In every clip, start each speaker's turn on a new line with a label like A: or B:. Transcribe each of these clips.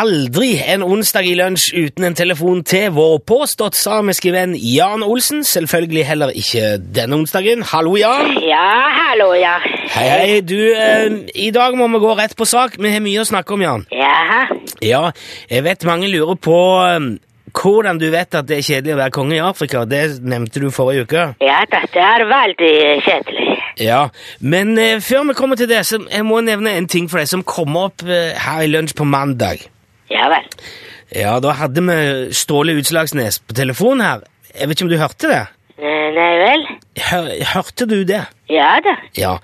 A: Aldri en onsdag i lunsj uten en telefon til vår påstått samiske venn Jan Olsen. Selvfølgelig heller ikke denne onsdagen. Hallo, Jan.
B: Ja, hallo, ja.
A: Hei, hei. Du, eh, i dag må vi gå rett på sak. Vi har mye å snakke om, Jan.
B: Jaha.
A: Ja, jeg vet mange lurer på eh, hvordan du vet at det er kjedelig å være konge i Afrika. Det nevnte du forrige uke.
B: Ja da, det er veldig kjedelig.
A: Ja, Men eh, før vi kommer til det, så jeg må nevne en ting for deg som kommer opp eh, her i lunsj på mandag.
B: Ja vel.
A: Ja, da hadde vi Ståle Utslagsnes på telefon her. Jeg vet ikke om du hørte det?
B: Eh, Nei vel.
A: Hør, hørte du det?
B: Ja da.
A: Ja.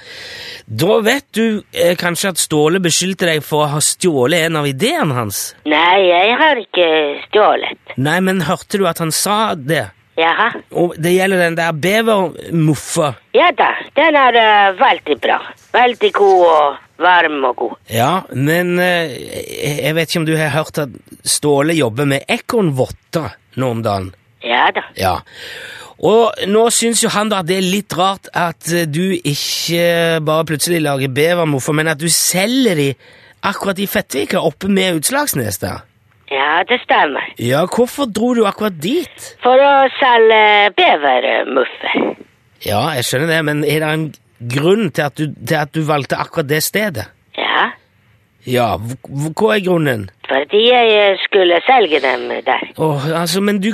A: Da vet du eh, kanskje at Ståle beskyldte deg for å ha stjålet en av ideene hans.
B: Nei, jeg har ikke stjålet.
A: Nei, men hørte du at han sa det?
B: Jaha.
A: Og det gjelder den der bevermuffa.
B: Ja da, den er eh, veldig bra. Veldig god og varm og god.
A: Ja, men eh, jeg jeg vet ikke om du har hørt at Ståle jobber med ekornvotter nå om dagen?
B: Ja da.
A: Ja. Og nå syns jo han da at det er litt rart at eh, du ikke bare plutselig lager bevermoffer, men at du selger de akkurat i Fettvika, oppe med Utslagsnes der.
B: Ja, det stemmer.
A: Ja, hvorfor dro du akkurat dit?
B: For å selge bevermuffer.
A: Ja, jeg skjønner det, men er det en grunn til at du, til at du valgte akkurat det stedet?
B: Ja,
A: Ja, hv- hv- hva er grunnen?
B: fordi jeg eh, skulle selge dem der.
A: Åh, altså, men du,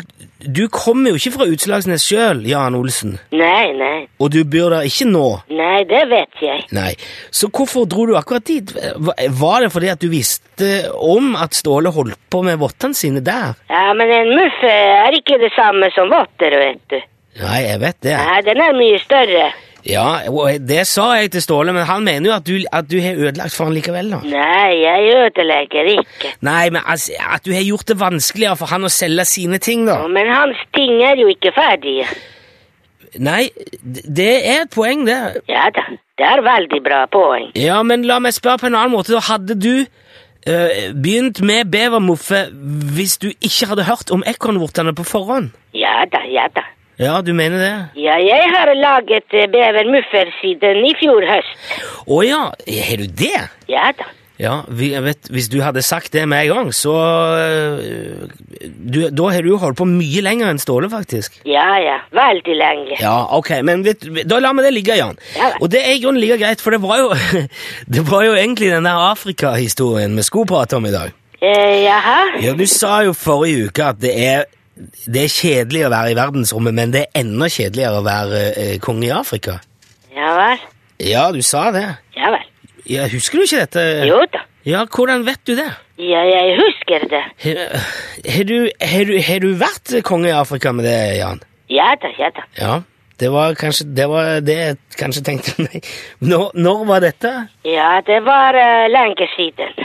A: du kommer jo ikke fra Utslagsnes sjøl, Jan Olsen.
B: Nei, nei.
A: Og du bor der ikke nå.
B: Nei, det vet jeg.
A: Nei. Så hvorfor dro du akkurat dit? Hva- Var det fordi at du visste om at Ståle holdt på med vottene sine der?
B: Ja, men en muff eh, er ikke det samme som votter, vet du.
A: Nei, jeg vet det.
B: Nei, den er mye større.
A: Ja, og Det sa jeg til Ståle, men han mener jo at du, at du har ødelagt for han likevel. da.
B: Nei, jeg ødelegger ikke.
A: Nei, men altså, at du har gjort det vanskeligere for han å selge sine ting, da.
B: Men hans ting er jo ikke ferdige.
A: Nei, d- det er et poeng, det.
B: Ja da, det er veldig bra poeng.
A: Ja, men la meg spørre på en annen måte. da. Hadde du eh, begynt med bevermoffe hvis du ikke hadde hørt om ekornvortene på forhånd?
B: Ja da, ja da.
A: Ja, du mener det?
B: Ja, jeg har laget eh, bevermuffer siden i fjor høst.
A: Å ja, har du det?
B: Ja da.
A: Ja, vi, jeg vet, Hvis du hadde sagt det med en gang, så øh, du, Da har du jo holdt på mye lenger enn Ståle, faktisk.
B: Ja ja, veldig lenge.
A: Ja, ok, men vet, Da lar vi det ligge, Jan.
B: Ja vel.
A: Og det er i grunnen like greit, for det var jo, det var jo egentlig den der Afrika-historien vi skulle prate om i dag.
B: Eh, jaha?
A: Ja, Du sa jo forrige uke at det er, det er kjedelig å være i verdensrommet, men det er enda kjedeligere å være eh, konge i Afrika.
B: Ja vel?
A: Ja, du sa det.
B: Ja vel.
A: Ja, husker du ikke dette?
B: Jo da.
A: Ja, Hvordan vet du det?
B: Ja, jeg husker det.
A: Har har du, har du, har du vært konge i Afrika med det, Jan?
B: Ja da, ja da.
A: Ja. Det var kanskje det, var det jeg kanskje tenkte nei. Når, når var dette?
B: Ja, det var eh, lenge siden.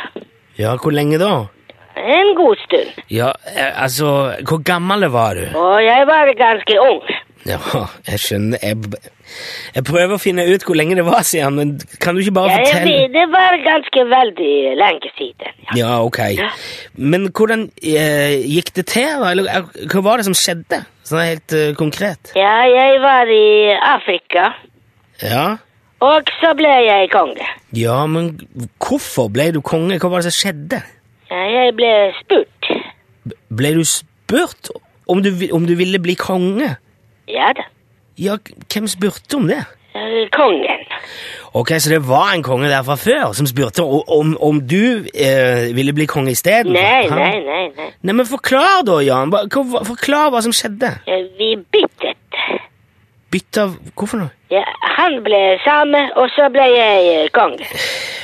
A: Ja, hvor lenge da?
B: En god stund.
A: Ja, eh, altså Hvor gammel var du?
B: Og jeg var ganske ung.
A: Ja, jeg skjønner Jeg, b- jeg prøver å finne ut hvor lenge det var siden, men kan du ikke bare
B: Jeg,
A: fortelle?
B: vet- det var ganske veldig lenge siden. Ja.
A: Ja, ok. Men hvordan eh, gikk det til? da? Eller eh, hva var det som skjedde? Sånn helt eh, konkret.
B: ja, jeg var i Afrika,
A: Ja.
B: og så ble jeg konge.
A: Ja, men hvorfor ble du konge? Hva var det som skjedde?
B: Ja, jeg ble spurt.
A: Ble du spurt om du, vi- om du ville bli konge?
B: Ja da.
A: Ja, k- hvem spurte om det?
B: Eh, Kongen.
A: Ok, Så det var en konge der fra før som spurte o- om, om du eh, ville bli konge isteden?
B: Nei,
A: Hæ?
B: nei, nei. nei.
A: Nei, men Forklar, da, Jan. Hva- hva- Forklar hva som skjedde.
B: Eh, Vi byttet.
A: Bytte av Hvorfor noe?
B: Ja, han ble same, og så ble jeg eh, konge.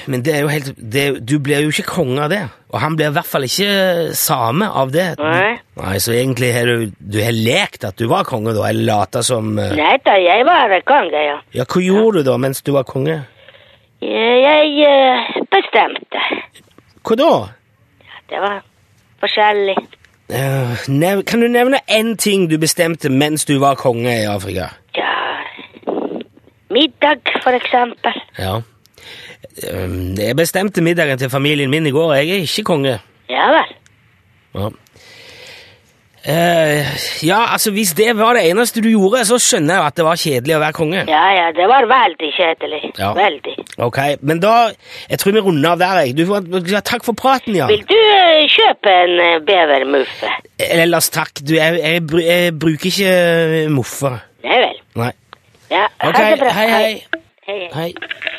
A: Men det er jo helt det, er- Du blir jo ikke konge av det. Og han blir i hvert fall ikke same av det.
B: Nei.
A: Nei, Så egentlig har du Du har lekt at du var konge, da? Eller lata som eh,
B: Nei da, jeg var konge, ja.
A: Ja, hva gjorde du da mens du var konge?
B: Jeg jeg, eh, bestemte.
A: Hva da?
B: Det var forskjellig.
A: Eh, nev kan du nevne én ting du bestemte mens du var konge i Afrika?
B: Ja Middag, for eksempel.
A: Ja. Eh, jeg bestemte middagen til familien min i går. Jeg er ikke konge.
B: Ja vel.
A: Ja. Eh, ja, altså Hvis det var det eneste du gjorde, så skjønner jeg jo at det var kjedelig å være konge.
B: Ja, ja, det var veldig kjedelig.
A: Ja.
B: Veldig.
A: Ok, Men da Jeg tror vi runder av der. jeg. Du, får- ja, takk for praten, Jan.
B: Vil du eh, kjøpe en eh, bevermuffe?
A: Ellers takk. Du, jeg, jeg, bru- jeg bruker ikke muffer.
B: Nei vel.
A: Nei.
B: Ja,
A: Ok,
B: ha det bra.
A: hei, hei.
B: Hei, hei.
A: Hei.